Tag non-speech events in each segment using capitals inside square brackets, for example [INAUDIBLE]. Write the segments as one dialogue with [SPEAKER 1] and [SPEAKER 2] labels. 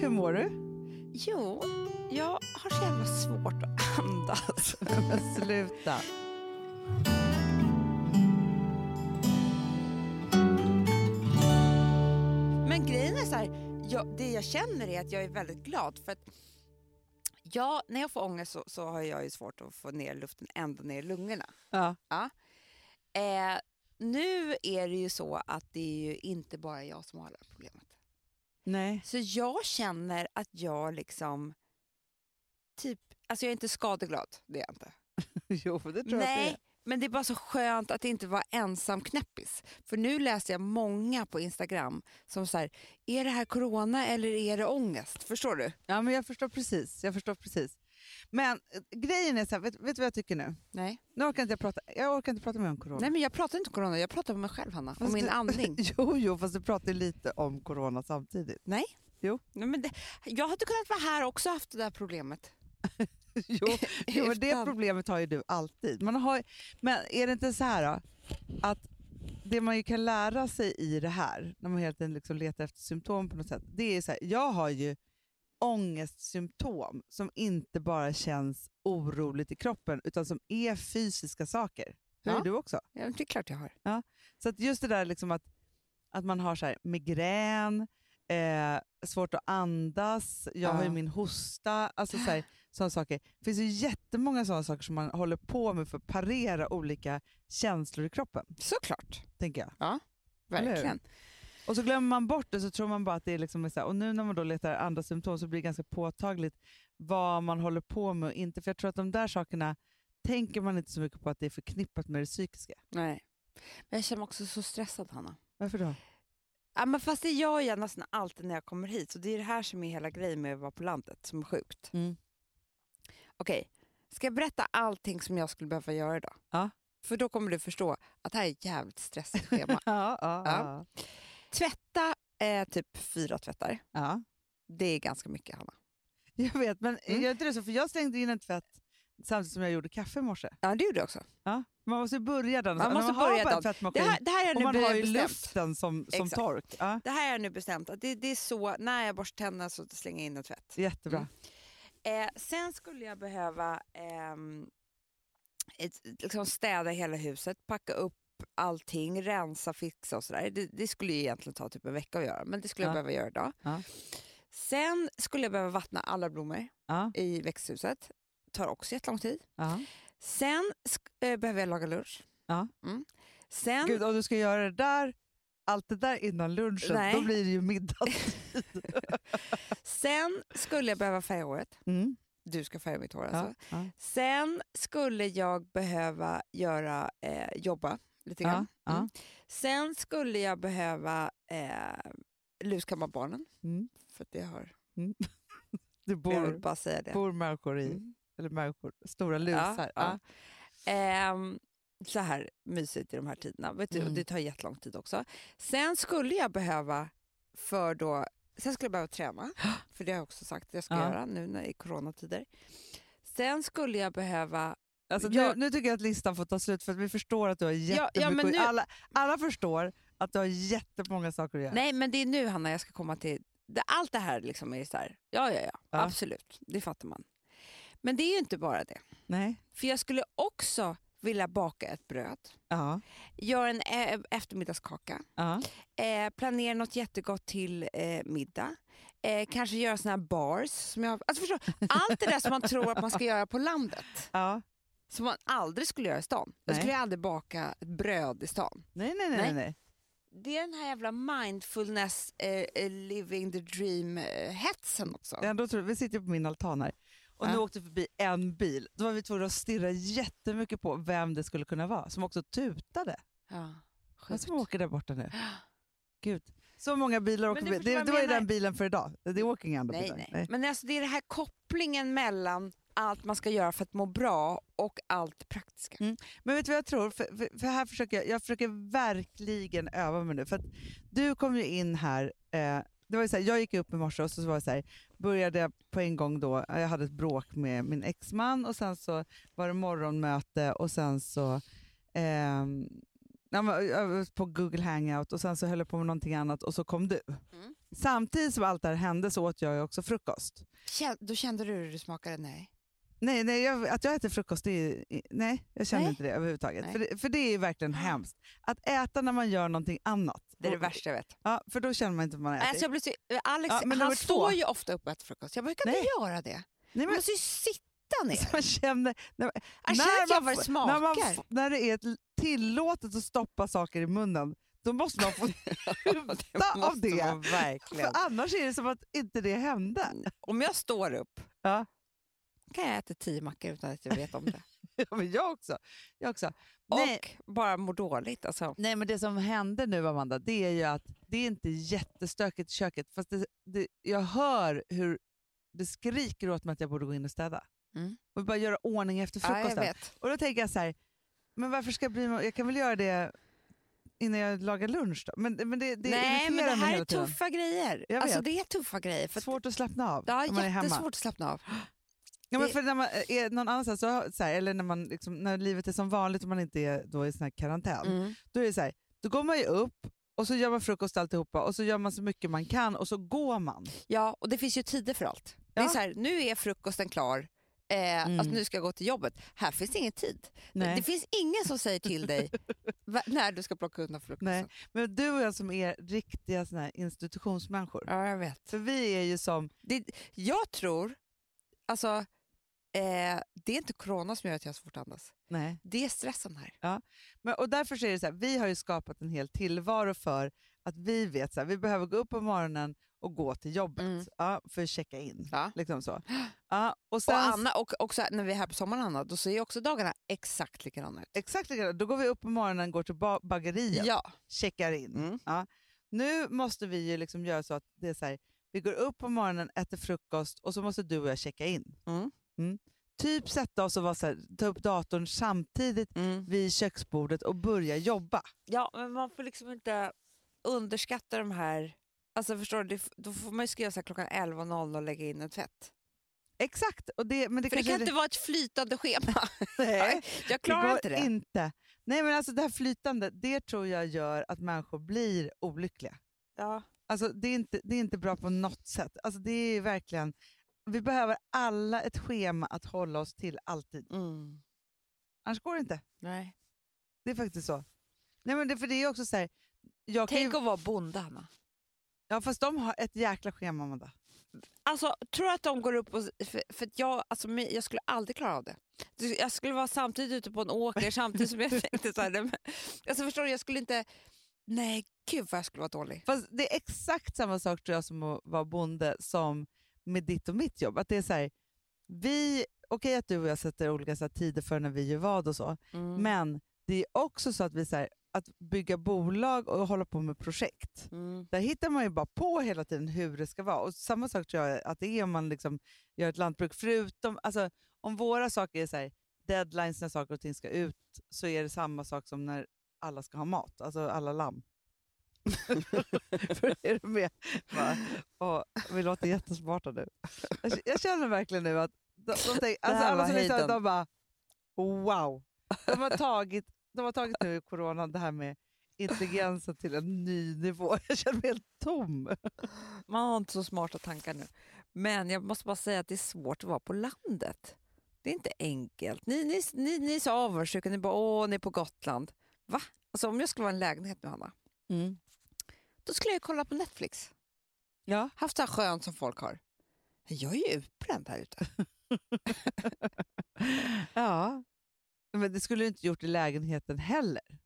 [SPEAKER 1] Hur mår du?
[SPEAKER 2] Jo, jag har så jävla svårt att [LAUGHS] andas.
[SPEAKER 1] Men sluta.
[SPEAKER 2] Men grejen är så här, jag, det jag känner är att jag är väldigt glad för att jag, när jag får ångest så, så har jag ju svårt att få ner luften ända ner i lungorna.
[SPEAKER 1] Ja.
[SPEAKER 2] Eh, nu är det ju så att det är ju inte bara jag som har det här problemet.
[SPEAKER 1] Nej.
[SPEAKER 2] Så jag känner att jag liksom, typ, alltså jag är inte skadeglad, det är jag inte.
[SPEAKER 1] [LAUGHS] Jo, för det tror jag
[SPEAKER 2] Nej,
[SPEAKER 1] att
[SPEAKER 2] men det är bara så skönt att inte vara ensam knäppis. För nu läser jag många på Instagram som så här, är det här corona eller är det ångest? Förstår du?
[SPEAKER 1] det är. Ja, men jag förstår precis. Jag förstår precis. Men eh, grejen är så här, vet, vet du vad jag tycker nu?
[SPEAKER 2] Nej.
[SPEAKER 1] Nu orkar inte jag prata, jag orkar inte prata mer om corona.
[SPEAKER 2] Nej, men jag pratar inte om corona, jag pratar om mig själv Hanna, om
[SPEAKER 1] Fast
[SPEAKER 2] min
[SPEAKER 1] du-
[SPEAKER 2] andning.
[SPEAKER 1] [LAUGHS] Jo, jo, fast du pratar ju lite om corona samtidigt. [LAUGHS]
[SPEAKER 2] Nej.
[SPEAKER 1] Jo.
[SPEAKER 2] [LAUGHS] Nej, men det, jag hade kunnat vara här och också haft det där problemet.
[SPEAKER 1] Jo, [LAUGHS] jo men det
[SPEAKER 2] Utan-
[SPEAKER 1] problemet har ju du alltid. Man har, men är det inte så här då, att det man ju kan lära sig i det här, när man hela tiden liksom letar efter symptom på något sätt, det är så här, jag har ju ångestsymptom som inte bara känns oroligt i kroppen utan som är fysiska saker. Det har ju
[SPEAKER 2] Ja.
[SPEAKER 1] du också.
[SPEAKER 2] Ja, men det är klart jag har.
[SPEAKER 1] Så att just det där liksom att, att man har så här migrän, eh, svårt att andas, jag har ju
[SPEAKER 2] Ja.
[SPEAKER 1] min hosta, alltså så här, sådana saker. Det finns ju jättemånga sådana saker som man håller på med för att parera olika känslor i kroppen,
[SPEAKER 2] Såklart.
[SPEAKER 1] tänker jag. Eller hur?
[SPEAKER 2] Verkligen.
[SPEAKER 1] Och så glömmer man bort det så tror man bara att det är liksom så här, och nu när man då letar andra symptom så blir det ganska påtagligt vad man håller på med och inte. För jag tror att de där sakerna tänker man inte så mycket på att det är förknippat med det psykiska.
[SPEAKER 2] Nej. Men jag känner mig också så stressad Hanna.
[SPEAKER 1] Varför då?
[SPEAKER 2] Ja, men fast det gör jag nästan alltid när jag kommer hit. Så det är det här som är hela grejen med att vara på landet, som är sjukt.
[SPEAKER 1] Mm.
[SPEAKER 2] Okej, ska jag berätta allting som jag skulle behöva göra idag?
[SPEAKER 1] Ja.
[SPEAKER 2] För då kommer du förstå att det här är ett jävligt stressigt
[SPEAKER 1] [LAUGHS]
[SPEAKER 2] schema.
[SPEAKER 1] Ja, ja, ja.
[SPEAKER 2] Ja. Tvätta eh, typ fyra tvättar.
[SPEAKER 1] ja.
[SPEAKER 2] Det är ganska mycket, Hanna.
[SPEAKER 1] Jag vet, men
[SPEAKER 2] Mm.
[SPEAKER 1] gör inte det så? För jag slängde in en tvätt samtidigt som jag gjorde kaffe i morse.
[SPEAKER 2] Ja, det gjorde jag också.
[SPEAKER 1] Ja. Man måste ju börja den. alltså, När
[SPEAKER 2] Man måste
[SPEAKER 1] man har
[SPEAKER 2] börja
[SPEAKER 1] bara en
[SPEAKER 2] dagen. Det
[SPEAKER 1] tvättmaskin
[SPEAKER 2] här, det här är
[SPEAKER 1] och
[SPEAKER 2] nu
[SPEAKER 1] man
[SPEAKER 2] be-
[SPEAKER 1] har ju
[SPEAKER 2] bestämt.
[SPEAKER 1] luften som, som
[SPEAKER 2] Exakt.
[SPEAKER 1] tork. Ja,
[SPEAKER 2] Det här är nu bestämt. Att det, det är så, när jag borstar tänderna så slänger jag in en tvätt.
[SPEAKER 1] jättebra.
[SPEAKER 2] Mm. Eh, sen skulle jag behöva ehm, ett, liksom städa hela huset, packa upp allting, rensa, fixa och sådär. Det, det skulle ju egentligen ta typ en vecka att göra, men det skulle
[SPEAKER 1] Ja.
[SPEAKER 2] jag behöva göra idag.
[SPEAKER 1] Ja.
[SPEAKER 2] Sen skulle jag behöva vattna alla blommor
[SPEAKER 1] Ja,
[SPEAKER 2] i växthuset. Tar också jättelång tid.
[SPEAKER 1] ja.
[SPEAKER 2] Sen sk- eh, behöver jag laga lunch.
[SPEAKER 1] Ja.
[SPEAKER 2] Mm. Sen,
[SPEAKER 1] Gud, om du ska göra det där, allt det där innan lunchen,
[SPEAKER 2] Nej.
[SPEAKER 1] då blir det ju
[SPEAKER 2] [LAUGHS]
[SPEAKER 1] middag.
[SPEAKER 2] sen skulle jag behöva färga håret.
[SPEAKER 1] Mm.
[SPEAKER 2] Du ska färga mitt hår alltså.
[SPEAKER 1] Ja, ja,
[SPEAKER 2] Sen skulle jag behöva göra, eh, jobba lite grann.
[SPEAKER 1] ja, ja.
[SPEAKER 2] Mm. Sen skulle jag behöva eh, luskamma barnen.
[SPEAKER 1] Mm.
[SPEAKER 2] För att det har,
[SPEAKER 1] Det
[SPEAKER 2] jag vill
[SPEAKER 1] bor,
[SPEAKER 2] bara säga det.
[SPEAKER 1] bor människor i,
[SPEAKER 2] Mm.
[SPEAKER 1] eller människor, stora lusar. Ja,
[SPEAKER 2] Ehm, så här mysigt i de här tiderna. Vet du, och
[SPEAKER 1] Mm.
[SPEAKER 2] Det tar jättelång tid också. Sen skulle jag behöva för då, sen skulle jag
[SPEAKER 1] [GASPS]
[SPEAKER 2] behöva träna, för det har jag också sagt att jag ska
[SPEAKER 1] Ja.
[SPEAKER 2] göra nu när, i coronatider. Sen skulle jag behöva...
[SPEAKER 1] Alltså,
[SPEAKER 2] Jag-
[SPEAKER 1] nu, nu tycker jag att listan får ta slut för att vi förstår att du har
[SPEAKER 2] ja,
[SPEAKER 1] jättemycket
[SPEAKER 2] men
[SPEAKER 1] att-
[SPEAKER 2] nu-
[SPEAKER 1] alla, alla förstår att du har jättemånga saker att göra.
[SPEAKER 2] Nej, men det är nu Hanna jag ska komma till... Det, allt det här liksom är så här, ja, ja, ja,
[SPEAKER 1] Ja.
[SPEAKER 2] absolut, det fattar man. Men det är ju inte bara det.
[SPEAKER 1] Nej.
[SPEAKER 2] För jag skulle också vilja baka ett bröd,
[SPEAKER 1] Ja.
[SPEAKER 2] göra en eh, eftermiddagskaka,
[SPEAKER 1] Ja.
[SPEAKER 2] eh, planera något jättegott till eh, middag, eh, kanske göra såna här bars. Som jag, alltså förstår, du? allt det där som man tror att man ska göra på landet,
[SPEAKER 1] ja.
[SPEAKER 2] som man aldrig skulle göra i stan. Jag
[SPEAKER 1] Nej.
[SPEAKER 2] skulle aldrig baka ett bröd i stan.
[SPEAKER 1] Nej, nej, nej, nej.
[SPEAKER 2] Nej.
[SPEAKER 1] nej.
[SPEAKER 2] Det är den här jävla mindfulness, eh, eh, living the dream-hetsen också.
[SPEAKER 1] Ja, då tror jag, vi sitter ju på min altan här. Och nu
[SPEAKER 2] Ja.
[SPEAKER 1] åkte vi förbi en bil. Då var vi tvungna att stirra jättemycket på vem det skulle kunna vara, som också tutade.
[SPEAKER 2] Ja,
[SPEAKER 1] Vad
[SPEAKER 2] sjukt.
[SPEAKER 1] som åker där borta
[SPEAKER 2] [GASPS]
[SPEAKER 1] nu. Gud. Så många bilar åker
[SPEAKER 2] du
[SPEAKER 1] förbi.
[SPEAKER 2] förstår
[SPEAKER 1] Det,
[SPEAKER 2] vad
[SPEAKER 1] det
[SPEAKER 2] jag
[SPEAKER 1] var ju
[SPEAKER 2] menar.
[SPEAKER 1] den bilen för idag. Det åker inga andra
[SPEAKER 2] Nej,
[SPEAKER 1] bilar.
[SPEAKER 2] nej. Men alltså, det är den här kopplingen mellan allt man ska göra för att må bra och allt det praktiska.
[SPEAKER 1] Men vet du vad jag tror? För, för, för här försöker jag, jag försöker verkligen öva mig nu. För att du kom ju in här. Eh, det var ju så här jag gick upp i morse och så var det så här, började jag på en gång då. Jag hade ett bråk med min exman och sen så var det morgonmöte och sen så ehm, ja, men jag var på Google Hangout och sen så höll jag på med någonting annat och så kom du.
[SPEAKER 2] Mm.
[SPEAKER 1] Samtidigt som allt det här hände så åt jag ju också frukost.
[SPEAKER 2] Kän- Då kände du hur det smakade? Nej.
[SPEAKER 1] Nej, nej jag, att jag äter frukost, det är, ju- nej jag känner
[SPEAKER 2] Nej.
[SPEAKER 1] inte det överhuvudtaget.
[SPEAKER 2] Nej.
[SPEAKER 1] För det, för det är ju verkligen hemskt. Att äta när man gör någonting annat.
[SPEAKER 2] Det är det värsta jag vet.
[SPEAKER 1] Ja, för då känner man inte vad man äter.
[SPEAKER 2] Alltså jag blir så, Alex
[SPEAKER 1] Ja, men
[SPEAKER 2] han
[SPEAKER 1] nummer två.
[SPEAKER 2] står ju ofta upp och äter frukost. Jag brukar inte göra det.
[SPEAKER 1] nej,
[SPEAKER 2] Man
[SPEAKER 1] men,
[SPEAKER 2] måste ju sitta ner.
[SPEAKER 1] [LAUGHS]
[SPEAKER 2] Alltså,
[SPEAKER 1] man känner, när,
[SPEAKER 2] Jag känner att jag vad det smakar.
[SPEAKER 1] när, man, f- när det är tillåtet att stoppa saker i munnen, då måste
[SPEAKER 2] [LAUGHS]
[SPEAKER 1] man få njuta av
[SPEAKER 2] måste
[SPEAKER 1] det.
[SPEAKER 2] man verkligen.
[SPEAKER 1] För annars är det som att inte det hände.
[SPEAKER 2] Om jag står upp
[SPEAKER 1] Ja.
[SPEAKER 2] kan jag äta tio mackor utan att jag vet om det.
[SPEAKER 1] Ja, men jag också. Jag också. [LAUGHS] Nej,
[SPEAKER 2] Och bara mår dåligt. Alltså.
[SPEAKER 1] Nej, men det som hände nu, Amanda, det är ju att det är inte jättestökigt i köket. Fast det, det, jag hör hur det skriker åt mig att jag borde gå in och städa.
[SPEAKER 2] Mm.
[SPEAKER 1] Och bara göra ordning efter
[SPEAKER 2] Ja, jag
[SPEAKER 1] frukosten.
[SPEAKER 2] vet.
[SPEAKER 1] och då tänker jag så här, men varför ska jag bry mig? Jag kan väl göra det innan jag lagar lunch då? Men, men det, det
[SPEAKER 2] Nej, men
[SPEAKER 1] irriterar
[SPEAKER 2] det
[SPEAKER 1] mig
[SPEAKER 2] här
[SPEAKER 1] hela
[SPEAKER 2] är
[SPEAKER 1] tiden.
[SPEAKER 2] tuffa grejer.
[SPEAKER 1] Jag
[SPEAKER 2] Alltså
[SPEAKER 1] vet.
[SPEAKER 2] det är tuffa grejer. För att
[SPEAKER 1] Svårt att slappna av
[SPEAKER 2] det är
[SPEAKER 1] när man är hemma.
[SPEAKER 2] jättesvårt att slappna av.
[SPEAKER 1] Ja, men
[SPEAKER 2] Det-
[SPEAKER 1] för när man är någon annanstans, så, så här, eller när, man, liksom, när livet är som vanligt och man inte är då i sån här karantän,
[SPEAKER 2] Mm.
[SPEAKER 1] då är det så här, då går man ju upp och så gör man frukost och alltihopa och så gör man så mycket man kan och så går man.
[SPEAKER 2] Ja, och det finns ju tider för allt. Det är
[SPEAKER 1] Ja.
[SPEAKER 2] så här, nu är frukosten klar. Eh,
[SPEAKER 1] Mm.
[SPEAKER 2] alltså, nu ska jag gå till jobbet. Här finns ingen tid.
[SPEAKER 1] Nej.
[SPEAKER 2] Det finns ingen som säger till [LAUGHS] dig va- när du ska plocka undan frukosten.
[SPEAKER 1] Nej. Men du och jag som är riktiga såna här institutionsmänniskor,
[SPEAKER 2] Ja, jag vet.
[SPEAKER 1] för vi är ju som,
[SPEAKER 2] Det, jag tror, alltså, eh, det är inte corona som gör att jag har svårt att andas.
[SPEAKER 1] nej.
[SPEAKER 2] Det är stressen här.
[SPEAKER 1] Men, och därför så är det så här, vi har ju skapat en hel tillvaro för att vi vet så här, vi behöver gå upp på morgonen och gå till jobbet
[SPEAKER 2] Mm.
[SPEAKER 1] ja, för att checka in.
[SPEAKER 2] Ja.
[SPEAKER 1] Liksom
[SPEAKER 2] [GASPS]
[SPEAKER 1] så. Ja, och sen,
[SPEAKER 2] Och, Anna, och också när vi är här på sommaren, Anna, då ser ju också dagarna exakt likadana ut.
[SPEAKER 1] Exakt likadant. Då går vi upp på morgonen, går till ba- bageriet,
[SPEAKER 2] Ja.
[SPEAKER 1] checkar in.
[SPEAKER 2] Mm.
[SPEAKER 1] Ja. Nu måste vi ju liksom göra så att det är så här, vi går upp på morgonen, äter frukost och så måste du och jag checka in.
[SPEAKER 2] Mm.
[SPEAKER 1] Mm. Typ sätta oss och vara så här, ta upp datorn samtidigt
[SPEAKER 2] Mm.
[SPEAKER 1] vid köksbordet och börja jobba.
[SPEAKER 2] ja, men man får liksom inte underskatta de här... Alltså förstår du, det f- då får man ju skriva så här klockan 11.00 och lägga in en tvätt.
[SPEAKER 1] Exakt. Och det, men det
[SPEAKER 2] För det
[SPEAKER 1] kanske
[SPEAKER 2] kan
[SPEAKER 1] är
[SPEAKER 2] inte vara ett flytande [LAUGHS] schema.
[SPEAKER 1] Nej,
[SPEAKER 2] Jag
[SPEAKER 1] det går
[SPEAKER 2] klarar inte det.
[SPEAKER 1] Inte. Nej, men alltså det här flytande, det tror jag gör att människor blir olyckliga.
[SPEAKER 2] Ja.
[SPEAKER 1] Alltså, det, är inte, det är inte bra på något sätt. Alltså, det är verkligen, vi behöver alla ett schema att hålla oss till alltid.
[SPEAKER 2] Mm.
[SPEAKER 1] Annars går det inte.
[SPEAKER 2] Nej.
[SPEAKER 1] Det är faktiskt så. Nej, men det, för det är också så här, jag kan
[SPEAKER 2] Tänk
[SPEAKER 1] ju,
[SPEAKER 2] att vara bonde, Anna.
[SPEAKER 1] ja, fast de har ett jäkla schema, Amanda.
[SPEAKER 2] Alltså, tror du att de går upp och... För, för att jag, alltså, men jag skulle aldrig klara av det. Du- Jag skulle vara samtidigt ute på en [LAUGHS] åker samtidigt som jag tänkte så här, nej, men, alltså förstår du, jag skulle inte... Nej, gud vad jag skulle vara dålig.
[SPEAKER 1] Fast det är exakt samma sak tror jag som att vara bonde som med ditt och mitt jobb. Att det är så här, vi, okej att du och jag sätter olika så här, tider för när vi gör vad och så,
[SPEAKER 2] Men,
[SPEAKER 1] men det är också så att vi så här, att bygga bolag och hålla på med projekt.
[SPEAKER 2] Mm.
[SPEAKER 1] Där hittar man ju bara på hela tiden hur det ska vara. Och samma sak tror jag att det är om man liksom gör ett lantbruk. Förutom, alltså, om våra saker är så här, deadlines när saker och ting ska ut så är det samma sak som när alla ska ha mat, alltså alla lamm. För är du med? Va? Och, vi låter jättesmarta nu. Jag, jag känner verkligen nu att de, de tänker,
[SPEAKER 2] här
[SPEAKER 1] alltså, alla
[SPEAKER 2] var
[SPEAKER 1] som lyssnar,
[SPEAKER 2] höjden.
[SPEAKER 1] de bara wow. De har tagit, de har tagit nu i coronan det här med intelligensen till en ny nivå. Jag känner mig helt tom.
[SPEAKER 2] Man har inte så smarta tankar nu. Men jag måste bara säga att det är svårt att vara på landet. Det är inte enkelt. Ni, ni, ni, ni är så avundsjuka, ni bara åh, ni är på Gotland. Va? Alltså om jag skulle vara i en lägenhet nu, Anna, Mm. då skulle jag ju kolla på Netflix.
[SPEAKER 1] Ja.
[SPEAKER 2] haft så här skönt som folk har. Men Jag är ju utbränd här ute.
[SPEAKER 1] ja. Men det skulle du inte gjort i lägenheten heller.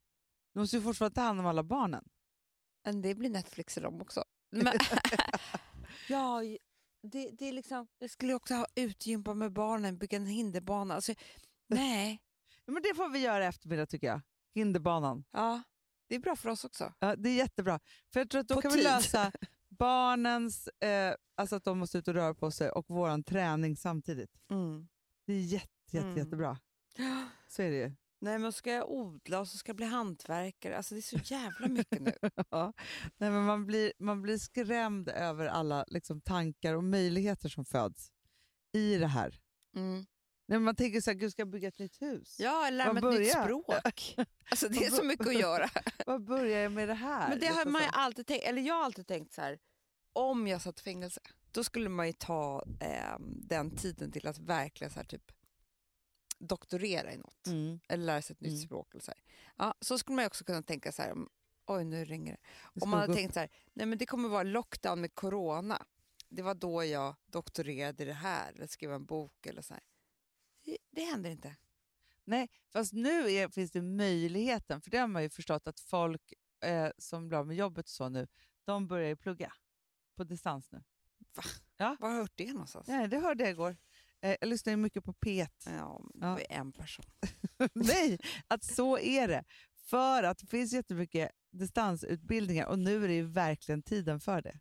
[SPEAKER 1] Du måste ju fortfarande ta hand om alla barnen.
[SPEAKER 2] Men det blir Netflix i dem också. Men, [LAUGHS] ja, det, det är liksom, jag skulle också ha utegympa med barnen, bygga en hinderbana. Alltså, nej,
[SPEAKER 1] Ja, Men det får vi göra i eftermiddag tycker jag. Hinderbanan.
[SPEAKER 2] ja, det är bra för oss också.
[SPEAKER 1] Ja, det är jättebra. För jag tror att då
[SPEAKER 2] På
[SPEAKER 1] kan vi
[SPEAKER 2] tid.
[SPEAKER 1] lösa barnens, eh, alltså att de måste ut och röra på sig och vår träning samtidigt. Det är jätte, jätte,
[SPEAKER 2] Mm.
[SPEAKER 1] jättebra. Så är det ju.
[SPEAKER 2] Nej, men ska jag odla och så ska jag bli hantverkare. Alltså, det är så jävla mycket [LAUGHS] nu.
[SPEAKER 1] Ja. Nej, men man, blir, man blir skrämd över alla liksom, tankar och möjligheter som föds i det här. Nej, men man tänker så här, gud ska jag bygga ett nytt hus?
[SPEAKER 2] Mm. Ja, lära mig
[SPEAKER 1] Man
[SPEAKER 2] ett nytt
[SPEAKER 1] börjar.
[SPEAKER 2] språk.
[SPEAKER 1] [LAUGHS]
[SPEAKER 2] Alltså, det är så mycket att göra.
[SPEAKER 1] Vad börjar jag med det här?
[SPEAKER 2] Men det har
[SPEAKER 1] Liksom
[SPEAKER 2] man ju
[SPEAKER 1] så.
[SPEAKER 2] alltid tänkt, eller jag har alltid tänkt så här, om jag satt i fängelse, då skulle man ju ta ehm, den tiden till att verkligen så här, typ doktorera i något.
[SPEAKER 1] Mm.
[SPEAKER 2] Eller lära sig ett nytt
[SPEAKER 1] Mm.
[SPEAKER 2] språk. Eller så, här. Ja, så skulle man ju också kunna tänka så här, om- oj nu ringer det.
[SPEAKER 1] Det
[SPEAKER 2] Om man
[SPEAKER 1] slog
[SPEAKER 2] hade
[SPEAKER 1] upp.
[SPEAKER 2] tänkt så här, nej men det kommer vara lockdown med corona. Det var då jag doktorerade i det här, eller skrev en bok eller så här. Det, det händer inte.
[SPEAKER 1] Fast nu är, finns det möjligheten, för det har man ju förstått att folk eh, som blir av med jobbet och så nu, de börjar ju plugga på distans nu.
[SPEAKER 2] Var har jag hört det någonstans?
[SPEAKER 1] Nej, det hörde jag igår. Eh, jag lyssnar ju mycket på P1.
[SPEAKER 2] Ja, men det
[SPEAKER 1] Ja.
[SPEAKER 2] var ju en person.
[SPEAKER 1] [LAUGHS] Nej, att så är det. För att det finns jättemycket distansutbildningar och nu är det ju verkligen tiden för det.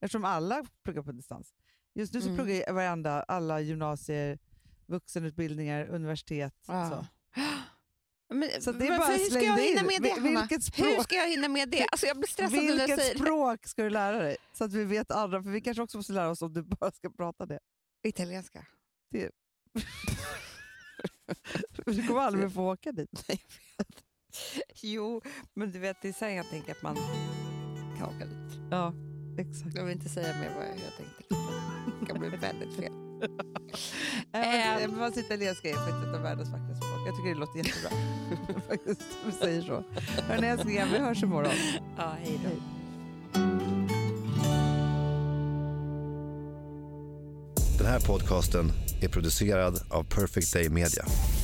[SPEAKER 1] Eftersom alla pluggar på distans. Just nu så
[SPEAKER 2] Mm.
[SPEAKER 1] pluggar ju varenda, alla gymnasier, vuxenutbildningar, universitet. Så.
[SPEAKER 2] [GASPS] Men,
[SPEAKER 1] Så det är
[SPEAKER 2] men
[SPEAKER 1] bara
[SPEAKER 2] hur ska jag
[SPEAKER 1] slängde
[SPEAKER 2] hinna
[SPEAKER 1] in.
[SPEAKER 2] med
[SPEAKER 1] Vil-
[SPEAKER 2] det, Hanna?
[SPEAKER 1] vilket
[SPEAKER 2] Hur
[SPEAKER 1] språk,
[SPEAKER 2] ska jag hinna med det? Alltså jag blir stressad när jag
[SPEAKER 1] vilket
[SPEAKER 2] säger det.
[SPEAKER 1] språk ska du lära dig? Så att vi vet andra, för vi kanske också måste lära oss om du bara ska prata det. [LAUGHS]
[SPEAKER 2] Italienska.
[SPEAKER 1] Du kommer aldrig mer få åka dit.
[SPEAKER 2] Jo, men du vet, det är sen jag tänker att man kan åka dit.
[SPEAKER 1] Ja, exakt.
[SPEAKER 2] Jag vill inte säga mer vad jag tänkte. Det kan bli väldigt
[SPEAKER 1] [LAUGHS]
[SPEAKER 2] fel.
[SPEAKER 1] Äh,
[SPEAKER 2] Ehm.
[SPEAKER 1] men fast italienska är faktiskt ett av världens vackraste språk. Jag tycker det låter jättebra. [LAUGHS] faktiskt, du säger så. Hörni älsklingar, vi hörs imorgon.
[SPEAKER 2] Ja, hej då.
[SPEAKER 3] Den här podcasten är producerad av Perfect Day Media.